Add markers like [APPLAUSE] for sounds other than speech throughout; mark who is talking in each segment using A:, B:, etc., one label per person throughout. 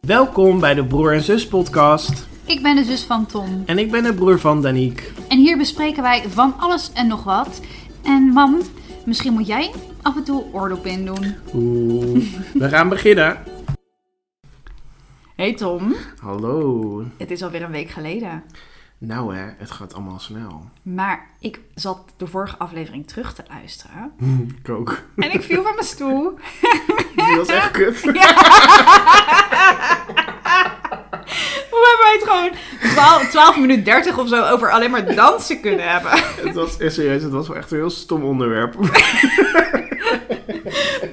A: Welkom bij de Broer en Zus podcast.
B: Ik ben de zus van Tom
A: En ik ben de broer van Daniek.
B: en hier bespreken wij van alles en nog wat. En mam, misschien moet jij af en toe oordop in doen.
A: Oeh, [LAUGHS] we gaan beginnen.
B: Hey Tom,
A: Hallo.
B: het is alweer een week geleden.
A: Nou hè, het gaat allemaal snel.
B: Maar ik zat de vorige aflevering terug te luisteren.
A: Ik [LAUGHS] ook.
B: En ik viel van mijn stoel.
A: Die was echt kut.
B: Hoe hebben wij het gewoon 12, 12 minuten 30 of zo over alleen maar dansen kunnen hebben? [LAUGHS]
A: Het was eh, serieus, het was wel echt een heel stom onderwerp.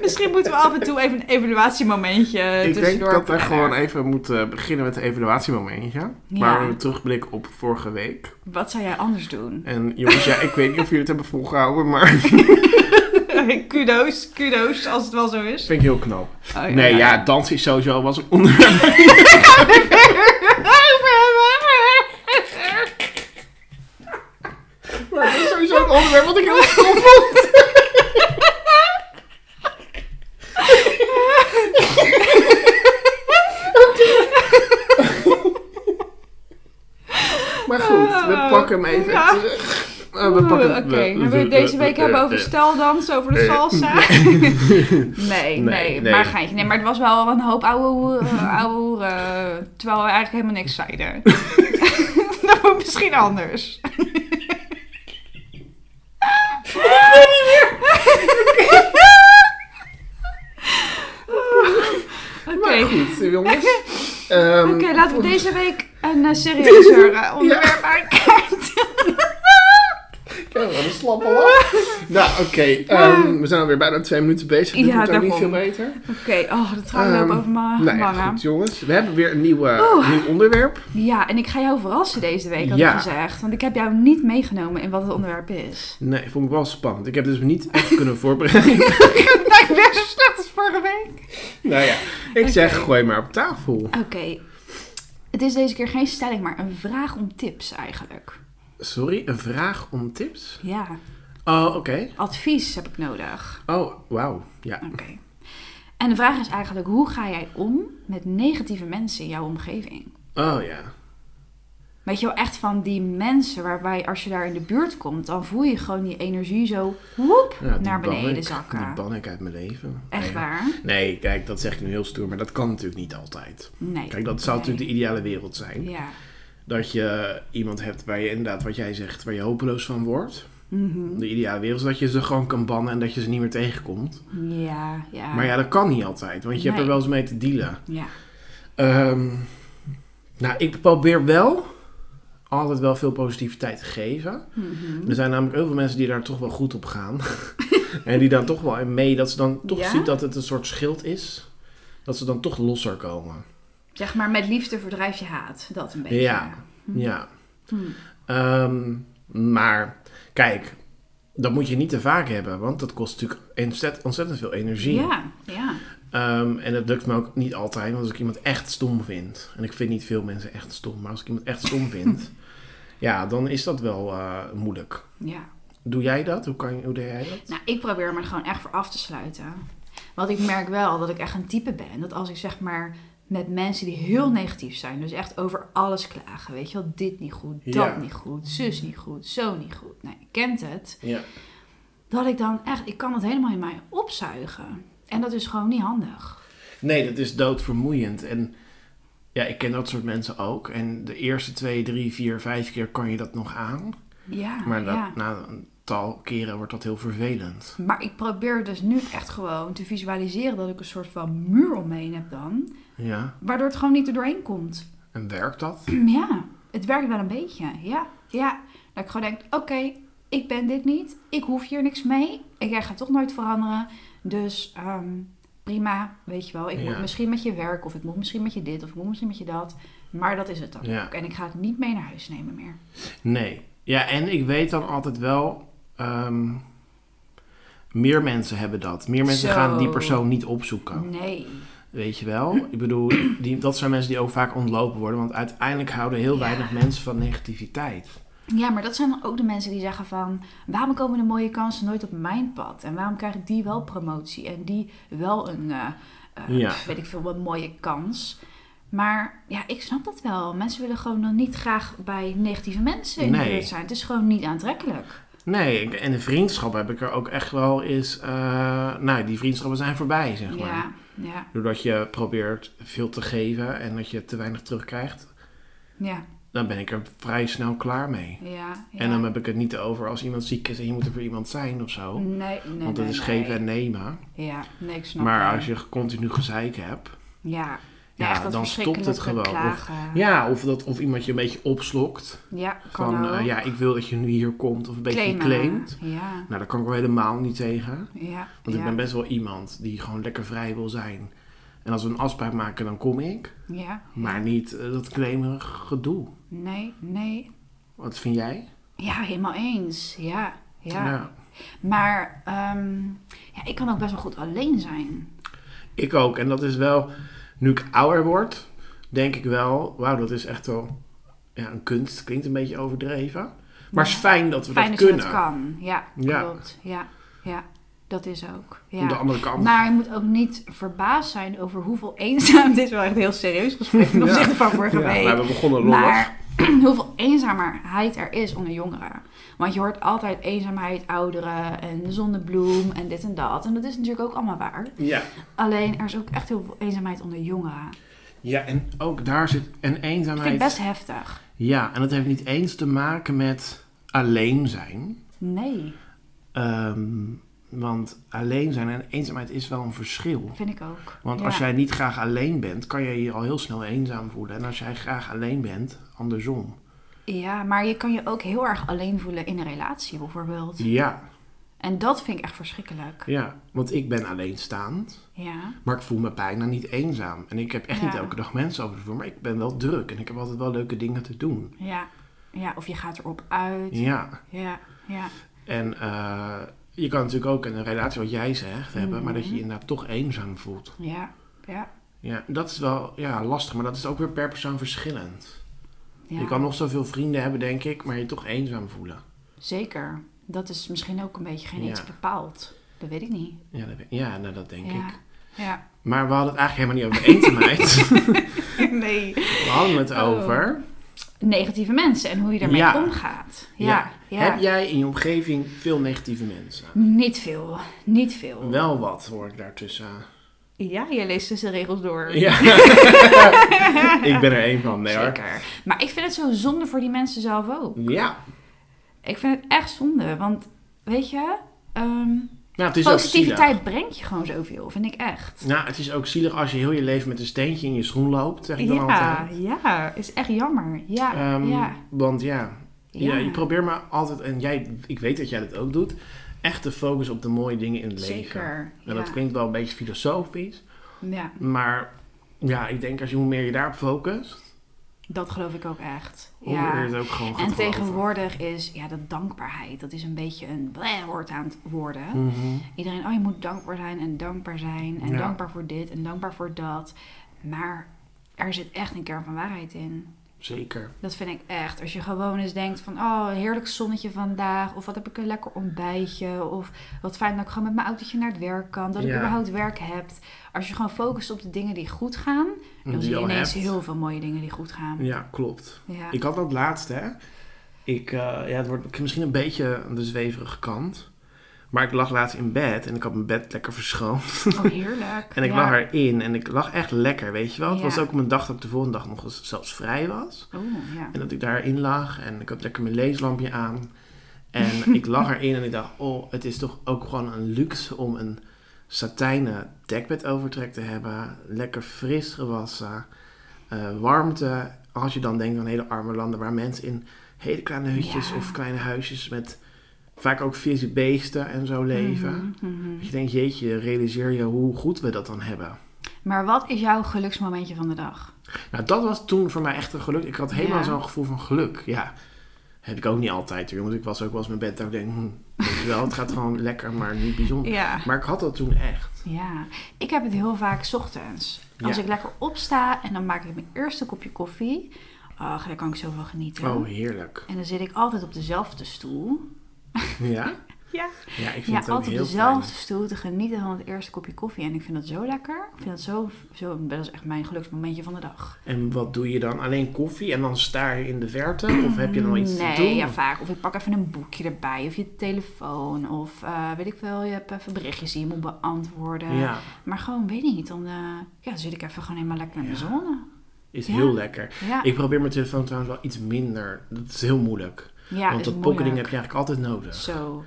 B: Misschien moeten we af en toe even een evaluatiemomentje
A: ik denk
B: tussendoor.
A: dat we
B: plannen.
A: gewoon even moeten beginnen met het evaluatiemomentje.
B: Ja.
A: Waar we een terugblik op vorige week.
B: Wat zou jij anders doen?
A: En jongens, ja, ik weet niet of jullie het hebben volgehouden, maar [LAUGHS] ik
B: [LAUGHS] kudos, kudos, als het wel zo is.
A: vind ik heel knap.
B: Oh, ja, [LAUGHS]
A: Nee, ja, dans is sowieso was een onderwerp.
B: [LAUGHS]
A: Maar dat is sowieso een onderwerp wat ik heel stom vond. Maar goed, we pakken hem even
B: Oh. Ja.
A: terug. Eh, we eh, pakken
B: Oké, hebben we het deze week hebben over steldansen, over de
A: [LAUGHS]
B: salsa? nee, nee,
A: Eh. Nee, nee.
B: maar geintje. Nee, maar het was wel een hoop ouwe
A: [LAUGHS]
B: hoeren, ouwe hoeren, terwijl we eigenlijk helemaal niks zeiden. [LAUGHS] dat moet misschien anders. Oké,
A: Maar goed, eh,
B: [LAUGHS]
A: jongens. Ehm, [LAUGHS]
B: Oké, laten we deze week een eh, serieuzer eh, onderwerp aankaarten.
A: Ja, oh, wat een slappe lach. Nou, oké. ehm, we zijn alweer bijna twee minuten bezig. Dit
B: Ja,
A: wordt ook niet
B: daarom.
A: veel beter.
B: Oké, oh, dat gaat lopen
A: Ehm,
B: over mijn
A: Nou ja,
B: wangen.
A: goed jongens. We hebben weer een nieuwe, nieuw onderwerp.
B: Ja, en ik ga jou verrassen deze week, had
A: Ja.
B: ik gezegd. Want ik heb jou niet meegenomen in wat het onderwerp
A: [LAUGHS]
B: is.
A: Nee, vond ik wel spannend. Ik heb dus niet echt kunnen [LAUGHS]
B: [LAUGHS]
A: voorbereiden.
B: nou, ik ben zo slecht als vorige week.
A: nou ja, ik zeg gooi maar op tafel.
B: Oké, het is deze keer geen stelling, maar een vraag om tips eigenlijk.
A: Sorry, een vraag om tips?
B: Ja,
A: Oh, oké.
B: advies heb ik nodig.
A: Oh, wauw. Ja.
B: Oké. En de vraag is eigenlijk, hoe ga jij om met negatieve mensen in jouw omgeving?
A: Oh ja.
B: Weet je wel, echt van die mensen waarbij als je daar in de buurt komt, dan voel je gewoon die energie zo woep,
A: ja die
B: naar
A: ban
B: beneden
A: ik. Die
B: zakken.
A: ban ik uit mijn leven.
B: Echt
A: Nee.
B: waar?
A: Nee, kijk, dat zeg ik nu heel stoer, maar dat kan natuurlijk niet altijd.
B: Nee.
A: Kijk, dat zou
B: Nee.
A: natuurlijk de ideale wereld zijn.
B: Ja.
A: Dat je iemand hebt waar je inderdaad, wat jij zegt, waar je hopeloos van wordt.
B: Mhm.
A: De ideale wereld is dat je ze gewoon kan bannen en dat je ze niet meer tegenkomt.
B: Ja, ja.
A: Maar ja, dat kan niet altijd, want je hebt er
B: Nee.
A: wel eens mee te dealen.
B: Ja.
A: Ehm, nou, ik probeer wel altijd wel veel positiviteit te geven.
B: Mhm.
A: Er zijn namelijk heel veel mensen die daar toch wel goed op gaan. [LAUGHS] en die dan toch wel in mee, dat ze dan toch
B: Ja?
A: zien dat het een soort schild is. Dat ze dan toch losser komen.
B: Zeg maar, met liefde verdrijf je haat. Dat een beetje.
A: Ja. Ja.
B: Hmm.
A: Ehm, maar kijk, dat moet je niet te vaak hebben, want dat kost natuurlijk ontzettend, ontzettend veel energie.
B: Ja, ja.
A: Ehm, en dat lukt me ook niet altijd, want als ik iemand echt stom vind, en ik vind niet veel mensen echt stom, maar als ik iemand echt stom vind, ja, dan is dat wel eh, moeilijk.
B: ja.
A: Doe jij dat? Hoe, kan, je- hoe deed jij dat?
B: Nou, ik probeer me er gewoon echt voor af te sluiten. Want ik merk wel dat ik echt een type ben. Dat als ik zeg maar met mensen die heel negatief zijn, dus echt over alles klagen, weet je wel, dit niet goed, dat
A: Ja.
B: niet goed, zus niet goed, zo niet goed. Nou, je kent het.
A: Ja.
B: Dat ik dan echt, ik kan dat helemaal in mij opzuigen. En dat is gewoon niet handig.
A: Nee, dat is doodvermoeiend. En ja, ik ken dat soort mensen ook. En de eerste twee, drie, vier, vijf keer kan je dat nog aan.
B: Ja,
A: Maar dat,
B: Ah, ja.
A: na een tal keren wordt dat heel vervelend.
B: Maar ik probeer dus nu echt gewoon te visualiseren dat ik een soort van muur omheen heb dan.
A: Ja.
B: Waardoor het gewoon niet er doorheen komt. [CLEARS THROAT]
A: En werkt dat?
B: Ja, het werkt wel een beetje. Ja, ja. Dat ik gewoon denk, oké, ik ben dit niet. Ik hoef hier niks mee. En jij gaat toch nooit veranderen. Dus ehm, prima, weet je wel. Ik
A: Ja.
B: moet misschien met je werk of ik moet misschien met je dit of ik moet misschien met je dat. Maar dat is het dan
A: Ja.
B: ook. En ik ga het niet mee naar huis nemen meer.
A: Nee. Ja, en ik weet dan altijd wel. ehm, meer mensen hebben dat. Meer mensen
B: Zo.
A: gaan die persoon niet opzoeken.
B: Nee.
A: Weet je wel? Ik bedoel, die, dat zijn mensen die ook vaak ontlopen worden. Want uiteindelijk houden heel
B: Ja.
A: weinig mensen van negativiteit.
B: Ja, maar dat zijn dan ook de mensen die zeggen van... waarom komen de mooie kansen nooit op mijn pad? En waarom krijgen die wel promotie en die wel een, eh, eh,
A: Ja.
B: weet ik veel, een mooie kans? Maar ja, ik snap dat wel. Mensen willen gewoon dan niet graag bij negatieve mensen in
A: Nee.
B: de buurt zijn. Het is gewoon niet aantrekkelijk.
A: Nee, ik- en de vriendschap heb ik er ook echt wel eens... eh, nou, die vriendschappen zijn voorbij, zeg maar.
B: Ja, ja,
A: Doordat je probeert veel te geven en dat je te weinig terugkrijgt,
B: ja,
A: dan ben ik er vrij snel klaar mee.
B: ja. ja.
A: En dan heb ik het niet over als iemand ziek is en je moet er voor iemand zijn of zo.
B: Nee, nee,
A: Want het
B: nee,
A: is
B: nee.
A: geven en nemen.
B: Ja, nee, ik snap
A: maar
B: wel.
A: als je continu gezeik hebt.
B: Ja,
A: Ja,
B: echt dat
A: dan stopt het
B: verschrikkelijke
A: gewoon. Of-
B: Klagen.
A: Ja, of, dat, of iemand je een beetje opslokt.
B: Ja, kan
A: Van
B: ook.
A: eh, ja, ik wil dat je nu hier komt. Of een beetje
B: Claimen.
A: claimt.
B: Ja,
A: Nou, daar kan ik wel helemaal niet tegen.
B: ja.
A: Want
B: ja,
A: ik ben best wel iemand die gewoon lekker vrij wil zijn. En als we een afspraak maken, dan kom ik.
B: ja.
A: Maar niet eh, dat claimerig gedoe.
B: Nee, nee.
A: Wat vind jij?
B: Ja, helemaal eens. Ja, ja. Maar ehm, ja, ik kan ook best wel goed alleen zijn.
A: Ik ook. En dat is wel, nu ik ouder word, denk ik wel, wauw, dat is echt wel ja, een kunst. Klinkt een beetje overdreven. Maar het is fijn dat we
B: Fijn
A: dat
B: dat
A: kunnen.
B: je dat kan. Ja,
A: Ja.
B: klopt. Ja, ja. Dat is ook.
A: Aan de
B: Ja.
A: andere kant.
B: Maar je moet ook niet verbaasd zijn over hoeveel eenzaam... [LAUGHS] Dit is wel echt een heel serieus gesprek ten
A: Ja.
B: opzichte van vorige
A: ja,
B: week.
A: maar we begonnen lollig.
B: Maar [CLEARS THROAT] hoeveel eenzaamheid er is onder jongeren. Want je hoort altijd eenzaamheid, ouderen en zonnebloem en dit en dat. En dat is natuurlijk ook allemaal waar.
A: Ja.
B: Alleen er is ook echt heel veel eenzaamheid onder jongeren.
A: ja, en ook daar zit een
B: Dat
A: eenzaamheid.
B: vind ik best heftig.
A: Ja, en dat heeft niet eens te maken met alleen zijn.
B: Nee,
A: Ehm, want alleen zijn en eenzaamheid is wel een verschil.
B: vind ik ook.
A: Want
B: Ja.
A: als jij niet graag alleen bent, kan je je al heel snel eenzaam voelen. En als jij graag alleen bent, andersom.
B: Ja, maar je kan je ook heel erg alleen voelen in een relatie bijvoorbeeld.
A: Ja,
B: En dat vind ik echt verschrikkelijk.
A: Ja, want ik ben alleenstaand,
B: Ja,
A: maar ik voel me bijna niet eenzaam. En ik heb echt niet
B: Ja.
A: elke dag mensen over de vloer, maar ik ben wel druk en ik heb altijd wel leuke dingen te doen.
B: ja, ja. Of je gaat erop uit.
A: Ja,
B: Ja, ja.
A: en eh, je kan natuurlijk ook een relatie, wat jij zegt, hebben,
B: Mhm.
A: maar dat je je inderdaad toch eenzaam voelt.
B: Ja, ja.
A: Ja, dat is wel ja, lastig, maar dat is ook weer per persoon verschillend.
B: ja.
A: Je kan nog zoveel vrienden hebben, denk ik, maar je toch eenzaam voelen.
B: Zeker. Dat is misschien ook een beetje geen
A: Ja.
B: iets bepaald. Dat weet ik niet.
A: Ja, dat, ja nou, dat denk
B: ja.
A: ik.
B: Ja. [LAUGHS]
A: Maar we hadden het eigenlijk helemaal niet over eenzaamheid.
B: nee.
A: we hadden
B: Oh,
A: het over...
B: Negatieve mensen en hoe je daarmee
A: Ja.
B: omgaat. Ja. ja.
A: Heb jij in je omgeving veel negatieve mensen?
B: Niet veel. Niet veel.
A: Wel wat hoor ik daartussen.
B: Ja, je leest tussen de regels door.
A: Ja.
B: [LAUGHS]
A: ik ben er één van, nee hoor.
B: Zeker. Maar ik vind het zo zonde voor die mensen zelf ook.
A: Ja.
B: Ik vind het echt zonde. Want, weet je... ehm,
A: Nou, het is ook
B: positiviteit brengt je gewoon zoveel, vind ik echt.
A: zielig. Nou, het is ook zielig als je heel je leven met een steentje in je schoen loopt, zeg ik dan
B: Ja,
A: altijd.
B: ja, is echt jammer. Ja,
A: Ehm,
B: ja,
A: Want ja, ja.
B: Ja.
A: je probeert maar altijd, en jij, ik weet dat jij dat ook doet, echt te focussen op de mooie dingen in het leven.
B: zeker.
A: En dat
B: ja.
A: klinkt wel een beetje filosofisch,
B: ja,
A: maar ja, ik denk als je hoe meer je daarop focust,
B: dat geloof ik ook echt.
A: hoe
B: ja.
A: meer je het ook gewoon gaat
B: En
A: geloven.
B: tegenwoordig is ja, dat dankbaarheid, dat is een beetje een bleh woord aan het worden.
A: Mhm.
B: Iedereen, oh je moet dankbaar zijn en dankbaar zijn en
A: Ja.
B: dankbaar voor dit en dankbaar voor dat. Maar er zit echt een kern van waarheid in.
A: Zeker.
B: Dat vind ik echt. Als je gewoon eens denkt van, oh heerlijk zonnetje vandaag. Of wat heb ik een lekker ontbijtje. Of wat fijn dat ik gewoon met mijn autootje naar het werk kan. Dat ik
A: Ja.
B: überhaupt werk heb. Als je gewoon focust op de dingen die goed gaan. Dan zie je
A: al
B: ineens
A: hebt.
B: heel veel mooie dingen die goed gaan.
A: Ja, klopt.
B: Ja.
A: Ik had dat laatste, hè. Ik, eh, ja, het wordt misschien een beetje aan de zweverige kant. Maar ik lag laatst in bed en ik had mijn bed lekker verschoond.
B: Oh heerlijk.
A: [LAUGHS] En ik
B: ja.
A: lag erin en ik lag echt lekker, weet je wel. Het
B: Ja.
A: was ook op een dag dat ik de volgende dag nog eens zelfs vrij was.
B: Oeh, ja.
A: En dat ik daarin lag en ik had lekker mijn leeslampje
B: [LAUGHS]
A: aan. En ik lag erin en ik dacht, oh, het is toch ook gewoon een luxe om een satijnen dekbed overtrek te hebben. Lekker fris gewassen, eh, warmte. Als je dan denkt aan hele arme landen waar mensen in hele kleine hutjes
B: Ja.
A: of kleine huisjes met vaak ook vieze beesten en zo leven.
B: Mhm, mhm.
A: Dat je denkt, jeetje, realiseer je hoe goed we dat dan hebben.
B: Maar wat is jouw geluksmomentje van de dag?
A: Nou, dat was toen voor mij echt een geluk. Ik had helemaal
B: Ja.
A: zo'n gevoel van geluk. Ja, heb ik ook niet altijd. hoor, Want ik was ook wel eens mijn bed dat ik denk, hm, weet je wel, het gaat gewoon [LAUGHS] lekker, maar niet bijzonder.
B: Ja.
A: Maar ik had dat toen echt.
B: Ja, ik heb het heel vaak 's ochtends. Als
A: Ja.
B: ik lekker opsta en dan maak ik mijn eerste kopje koffie. Ach, daar kan ik zoveel genieten.
A: Oh, heerlijk.
B: En dan zit ik altijd op dezelfde stoel.
A: Ja?
B: [LAUGHS] Ja.
A: Ja, ik vind
B: Ja,
A: het ook
B: altijd
A: heel
B: op
A: fijn.
B: dezelfde stoel te genieten van het eerste kopje koffie. En ik vind dat zo lekker. Ik vind dat zo, zo dat is echt mijn geluksmomentje van de dag.
A: En wat doe je dan? Alleen koffie en dan staar je in de verte? Of heb je dan iets
B: nee,
A: te doen?
B: ja, vaak. Of ik pak even een boekje erbij. Of je telefoon. Of eh, weet ik wel, je hebt even berichtjes die je moet beantwoorden.
A: Ja,
B: Maar gewoon, weet ik niet, dan, eh, ja, dan zit ik even gewoon helemaal lekker in mijn
A: Ja.
B: zon.
A: is
B: Ja.
A: heel lekker.
B: Ja,
A: Ik probeer mijn telefoon trouwens wel iets minder. Dat is heel moeilijk.
B: ja
A: want
B: is
A: dat pocketing heb
B: moeilijk.
A: je eigenlijk altijd nodig.
B: Zo,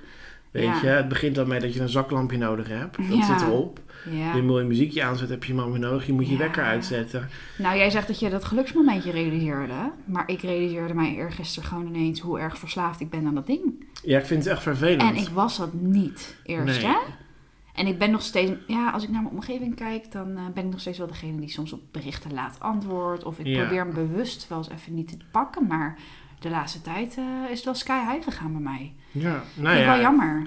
A: Weet
B: Ja.
A: je, het begint dan met dat je een zaklampje nodig hebt. Dat
B: Ja.
A: zit erop.
B: ja.
A: Je wil je muziekje aanzetten, heb je hem allemaal nodig. Je moet je
B: Ja.
A: wekker uitzetten.
B: Nou, jij zegt dat je dat geluksmomentje realiseerde. Maar ik realiseerde mij eergisteren gewoon ineens hoe erg verslaafd ik ben aan dat ding.
A: Ja, ik vind het echt vervelend.
B: En ik was dat niet eerst,
A: Nee.
B: hè? En ik ben nog steeds, ja, als ik naar mijn omgeving kijk, dan eh, ben ik nog steeds wel degene die soms op berichten laat antwoordt. Of ik
A: Ja.
B: probeer hem bewust wel eens even niet te pakken. Maar de laatste tijd eh, is het wel sky high gegaan bij mij.
A: Ja,
B: Vind
A: nou
B: ik wel
A: ja,
B: jammer.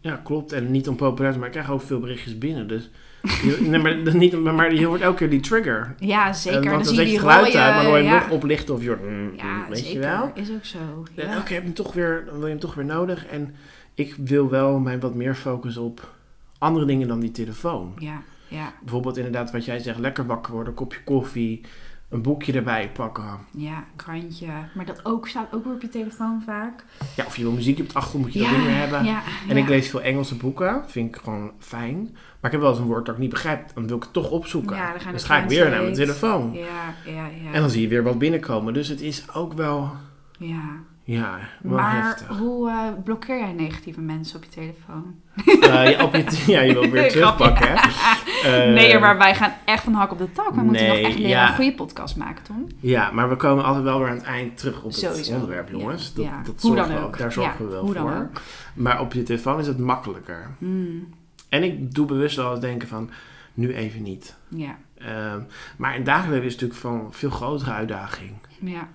A: ja, klopt. En niet om populair, te maken, maar ik krijg ook veel berichtjes binnen. Dus je, [LAUGHS] nee, maar, dat niet, maar je hoort elke keer die trigger.
B: Ja, zeker.
A: En
B: En
A: want dan
B: dan zie je
A: zet
B: die
A: je geluid
B: rode-
A: uit, maar dan hoor je hem
B: ja.
A: nog oplichten of je hoort, mm,
B: Ja,
A: mm, weet
B: zeker.
A: je wel.
B: Is ook zo.
A: En elke
B: Ja.
A: keer heb je hem toch weer, dan wil je hem toch weer nodig. En ik wil wel mijn wat meer focus op andere dingen dan die telefoon.
B: ja, ja,
A: Bijvoorbeeld inderdaad wat jij zegt, lekker wakker worden, kopje koffie, een boekje erbij pakken.
B: ja, krantje. Maar dat ook staat ook weer op je telefoon vaak.
A: Ja, of je wil muziek op de achtergrond, moet je
B: ja,
A: dat ding weer hebben.
B: Ja,
A: En
B: ja.
A: ik lees veel Engelse boeken, vind ik gewoon fijn. Maar ik heb wel eens een woord dat ik niet begrijp, dan wil ik het toch opzoeken.
B: Ja, dan ga je
A: dus
B: naar
A: ga ik weer naar mijn
B: Translate.
A: telefoon.
B: Ja, ja, ja.
A: En dan zie je weer wat binnenkomen. Dus het is ook wel,
B: ja.
A: ja, wel
B: Maar
A: heftig.
B: [LAUGHS] hoe eh, blokkeer jij negatieve mensen op je telefoon?
A: Eh, ja, op je t- [LAUGHS] ja, je wil het weer
B: Nee, [LAUGHS]
A: terugpakken, hè? Eh,
B: nee, maar wij gaan echt van hak op de tak. We moeten nog
A: nee,
B: echt leren
A: ja.
B: een goede podcast maken, Tom.
A: Ja, maar we komen altijd wel weer aan het eind terug op het
B: Sowieso.
A: onderwerp, jongens.
B: Ja,
A: Dat,
B: ja.
A: dat
B: Hoe
A: zorgen
B: dan
A: we
B: ook.
A: ook. Daar zorgen
B: Ja,
A: we wel
B: hoe dan
A: voor.
B: ook.
A: Maar op je telefoon is het makkelijker.
B: Hmm,
A: En ik doe bewust wel eens denken van, nu even niet.
B: ja,
A: Ehm, maar in het dagelijks is het natuurlijk van een veel grotere uitdaging.
B: ja,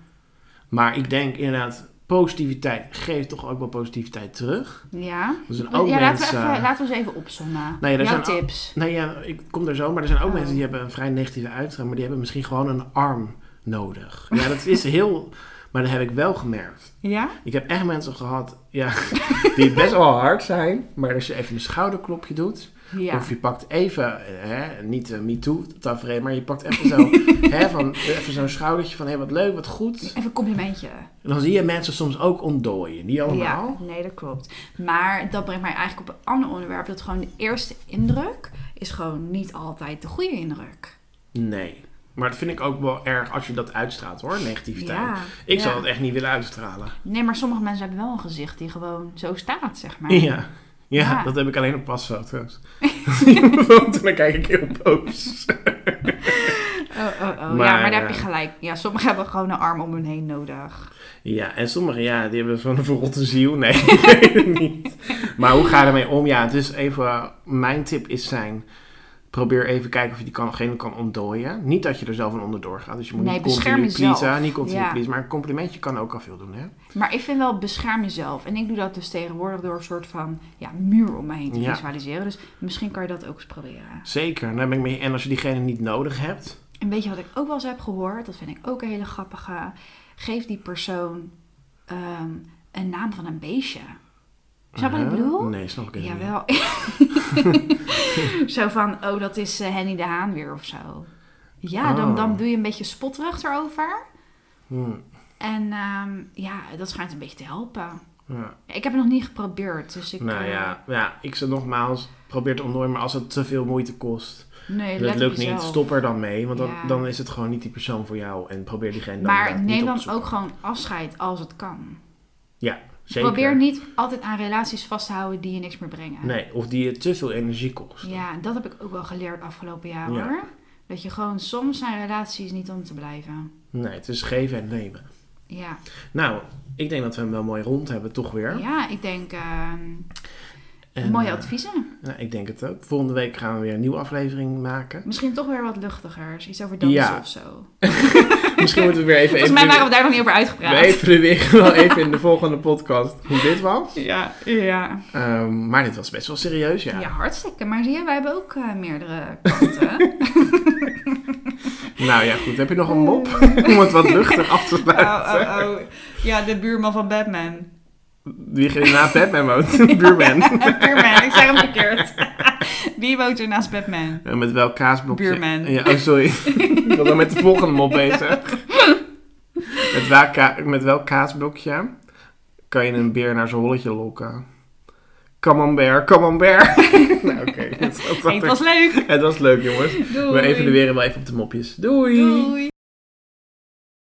A: Maar ik denk inderdaad, positiviteit geeft toch ook wel positiviteit terug.
B: ja.
A: Er zijn ook
B: Ja, laten, we
A: mensen...
B: even, laten we eens even opzommen.
A: Nee, er
B: Jouw
A: zijn al-
B: tips.
A: Nee, ja, ik kom daar zo, maar er zijn ook
B: Oh.
A: mensen die hebben een vrij negatieve uitstraling, maar die hebben misschien gewoon een arm nodig. Ja, dat is heel... Maar dat heb ik wel gemerkt.
B: Ja?
A: Ik heb echt mensen gehad ja,
B: [LAUGHS]
A: die best wel hard zijn, maar als je even een schouderklopje doet,
B: Ja.
A: of je pakt even, eh, hè, niet me MeToo tafereel, maar je pakt even zo,
B: [LAUGHS]
A: hè, van, even zo'n schoudertje van hé, wat leuk, wat goed.
B: Even een complimentje.
A: En dan zie je mensen soms ook ontdooien, niet allemaal.
B: Ja, nee, dat klopt. Maar dat brengt mij eigenlijk op een ander onderwerp. Dat gewoon de eerste indruk is gewoon niet altijd de goede indruk.
A: Nee. Maar dat vind ik ook wel erg als je dat uitstraalt hoor, negativiteit.
B: Ja,
A: ik
B: ja.
A: zou dat echt niet willen uitstralen.
B: Nee, maar sommige mensen hebben wel een gezicht die gewoon zo staat, zeg maar.
A: Ja. [LAUGHS] Ja,
B: Ja.
A: dat heb ik alleen op
B: [LAUGHS]
A: pasfoto's. [LAUGHS] Zie je mijn foto en dan kijk ik heel boos.
B: Oh, oh, oh. ja,
A: Maar,
B: maar daar heb je
A: eh,
B: gelijk. Ja, sommigen hebben gewoon een arm om hun heen nodig.
A: Ja, en sommigen, ja, die hebben zo'n [LAUGHS] verrotte ziel. Nee, ik weet het niet. Maar hoe ga je ermee om? Ja, dus even, eh, mijn tip is zijn, probeer even kijken of je die kan, gene kan ontdooien. Niet dat je er zelf van onderdoor gaat, dus je moet
B: Nee,
A: niet
B: bescherm
A: continu
B: jezelf.
A: pleasen, niet continu
B: Ja.
A: pleasen. Maar een complimentje kan ook al veel doen, hè?
B: Maar ik vind wel, bescherm jezelf. En ik doe dat dus tegenwoordig door een soort van ja, muur om me heen te
A: Ja.
B: visualiseren. Dus misschien kan je dat ook eens proberen.
A: Zeker, daar ben ik mee. En als je diegene niet nodig hebt,
B: En weet je wat ik ook wel eens heb gehoord? Dat vind ik ook een hele grappige. Geef die persoon ehm, een naam van een beestje. Snap je wat ik
A: Huh?
B: bedoel?
A: Nee, snap ik het niet.
B: Jawel. [LAUGHS] zo van, oh dat is eh, Henny de Haan weer of zo. Ja, dan,
A: Oh.
B: dan doe je een beetje spotterig erover.
A: Hmm,
B: En ehm, ja, dat schijnt een beetje te helpen.
A: ja.
B: Ik heb het nog niet geprobeerd, dus ik...
A: Nou
B: eh,
A: ja, ja, ik zeg nogmaals, probeer het ontdooien, maar als het te veel moeite kost,
B: eh, Nee,
A: dat
B: let
A: lukt
B: op
A: niet,
B: jezelf.
A: stop er dan mee. Want dan,
B: Ja.
A: dan is het gewoon niet die persoon voor jou en probeer diegene dan
B: Maar
A: inderdaad niet
B: neem
A: op te
B: dan
A: zoeken.
B: ook gewoon afscheid als het kan.
A: Ja, zeker.
B: Probeer niet altijd aan relaties vast te houden die je niks meer brengen.
A: Nee, of die je te veel energie kost.
B: Ja, dat heb ik ook wel geleerd afgelopen jaar
A: Ja.
B: hoor. Dat je gewoon soms zijn relaties niet om te blijven.
A: Nee, het is geven en nemen.
B: Ja,
A: Nou, ik denk dat we hem wel mooi rond hebben, toch weer.
B: ja ik denk ehm,
A: En,
B: mooie
A: eh,
B: adviezen.
A: nou, ik denk het ook. Volgende week gaan we weer een nieuwe aflevering maken. [LAUGHS]
B: Misschien toch weer wat luchtigers. Iets over dansen
A: Ja.
B: of zo.
A: Misschien moeten we weer even...
B: Volgens mij waren we daar nog niet over uitgepraat.
A: we evalueren wel even in de volgende podcast hoe dit was.
B: [LAUGHS] Ja, ja.
A: Ehm, maar dit was best wel serieus, ja.
B: ja, hartstikke. Maar zie je, wij hebben ook eh, meerdere
A: [LAUGHS]
B: kanten.
A: Nou ja, goed. Heb je nog een [LAUGHS] mop om het wat luchtig af te
B: [LAUGHS] oh,
A: sluiten? [LAUGHS]
B: oh, oh. Ja, de buurman van Batman.
A: Diegene na Batman [LAUGHS]
B: [LAUGHS]
A: woont, buurman.
B: Buurman, ik zeg hem verkeerd. Wie woont er naast Batman?
A: En met welk kaasblokje?
B: Buurman.
A: Ja, oh,
B: [LAUGHS]
A: sorry. ik was al met de volgende mop bezig. met, welk ka- met welk kaasblokje kan je een beer naar zijn holletje lokken? Camembert, camembert. [LAUGHS] nou, oké. dat is wat
B: Hey, het was leuk.
A: Het was leuk, jongens.
B: Doei.
A: We evalueren wel even op de mopjes. Doei.
B: Doei.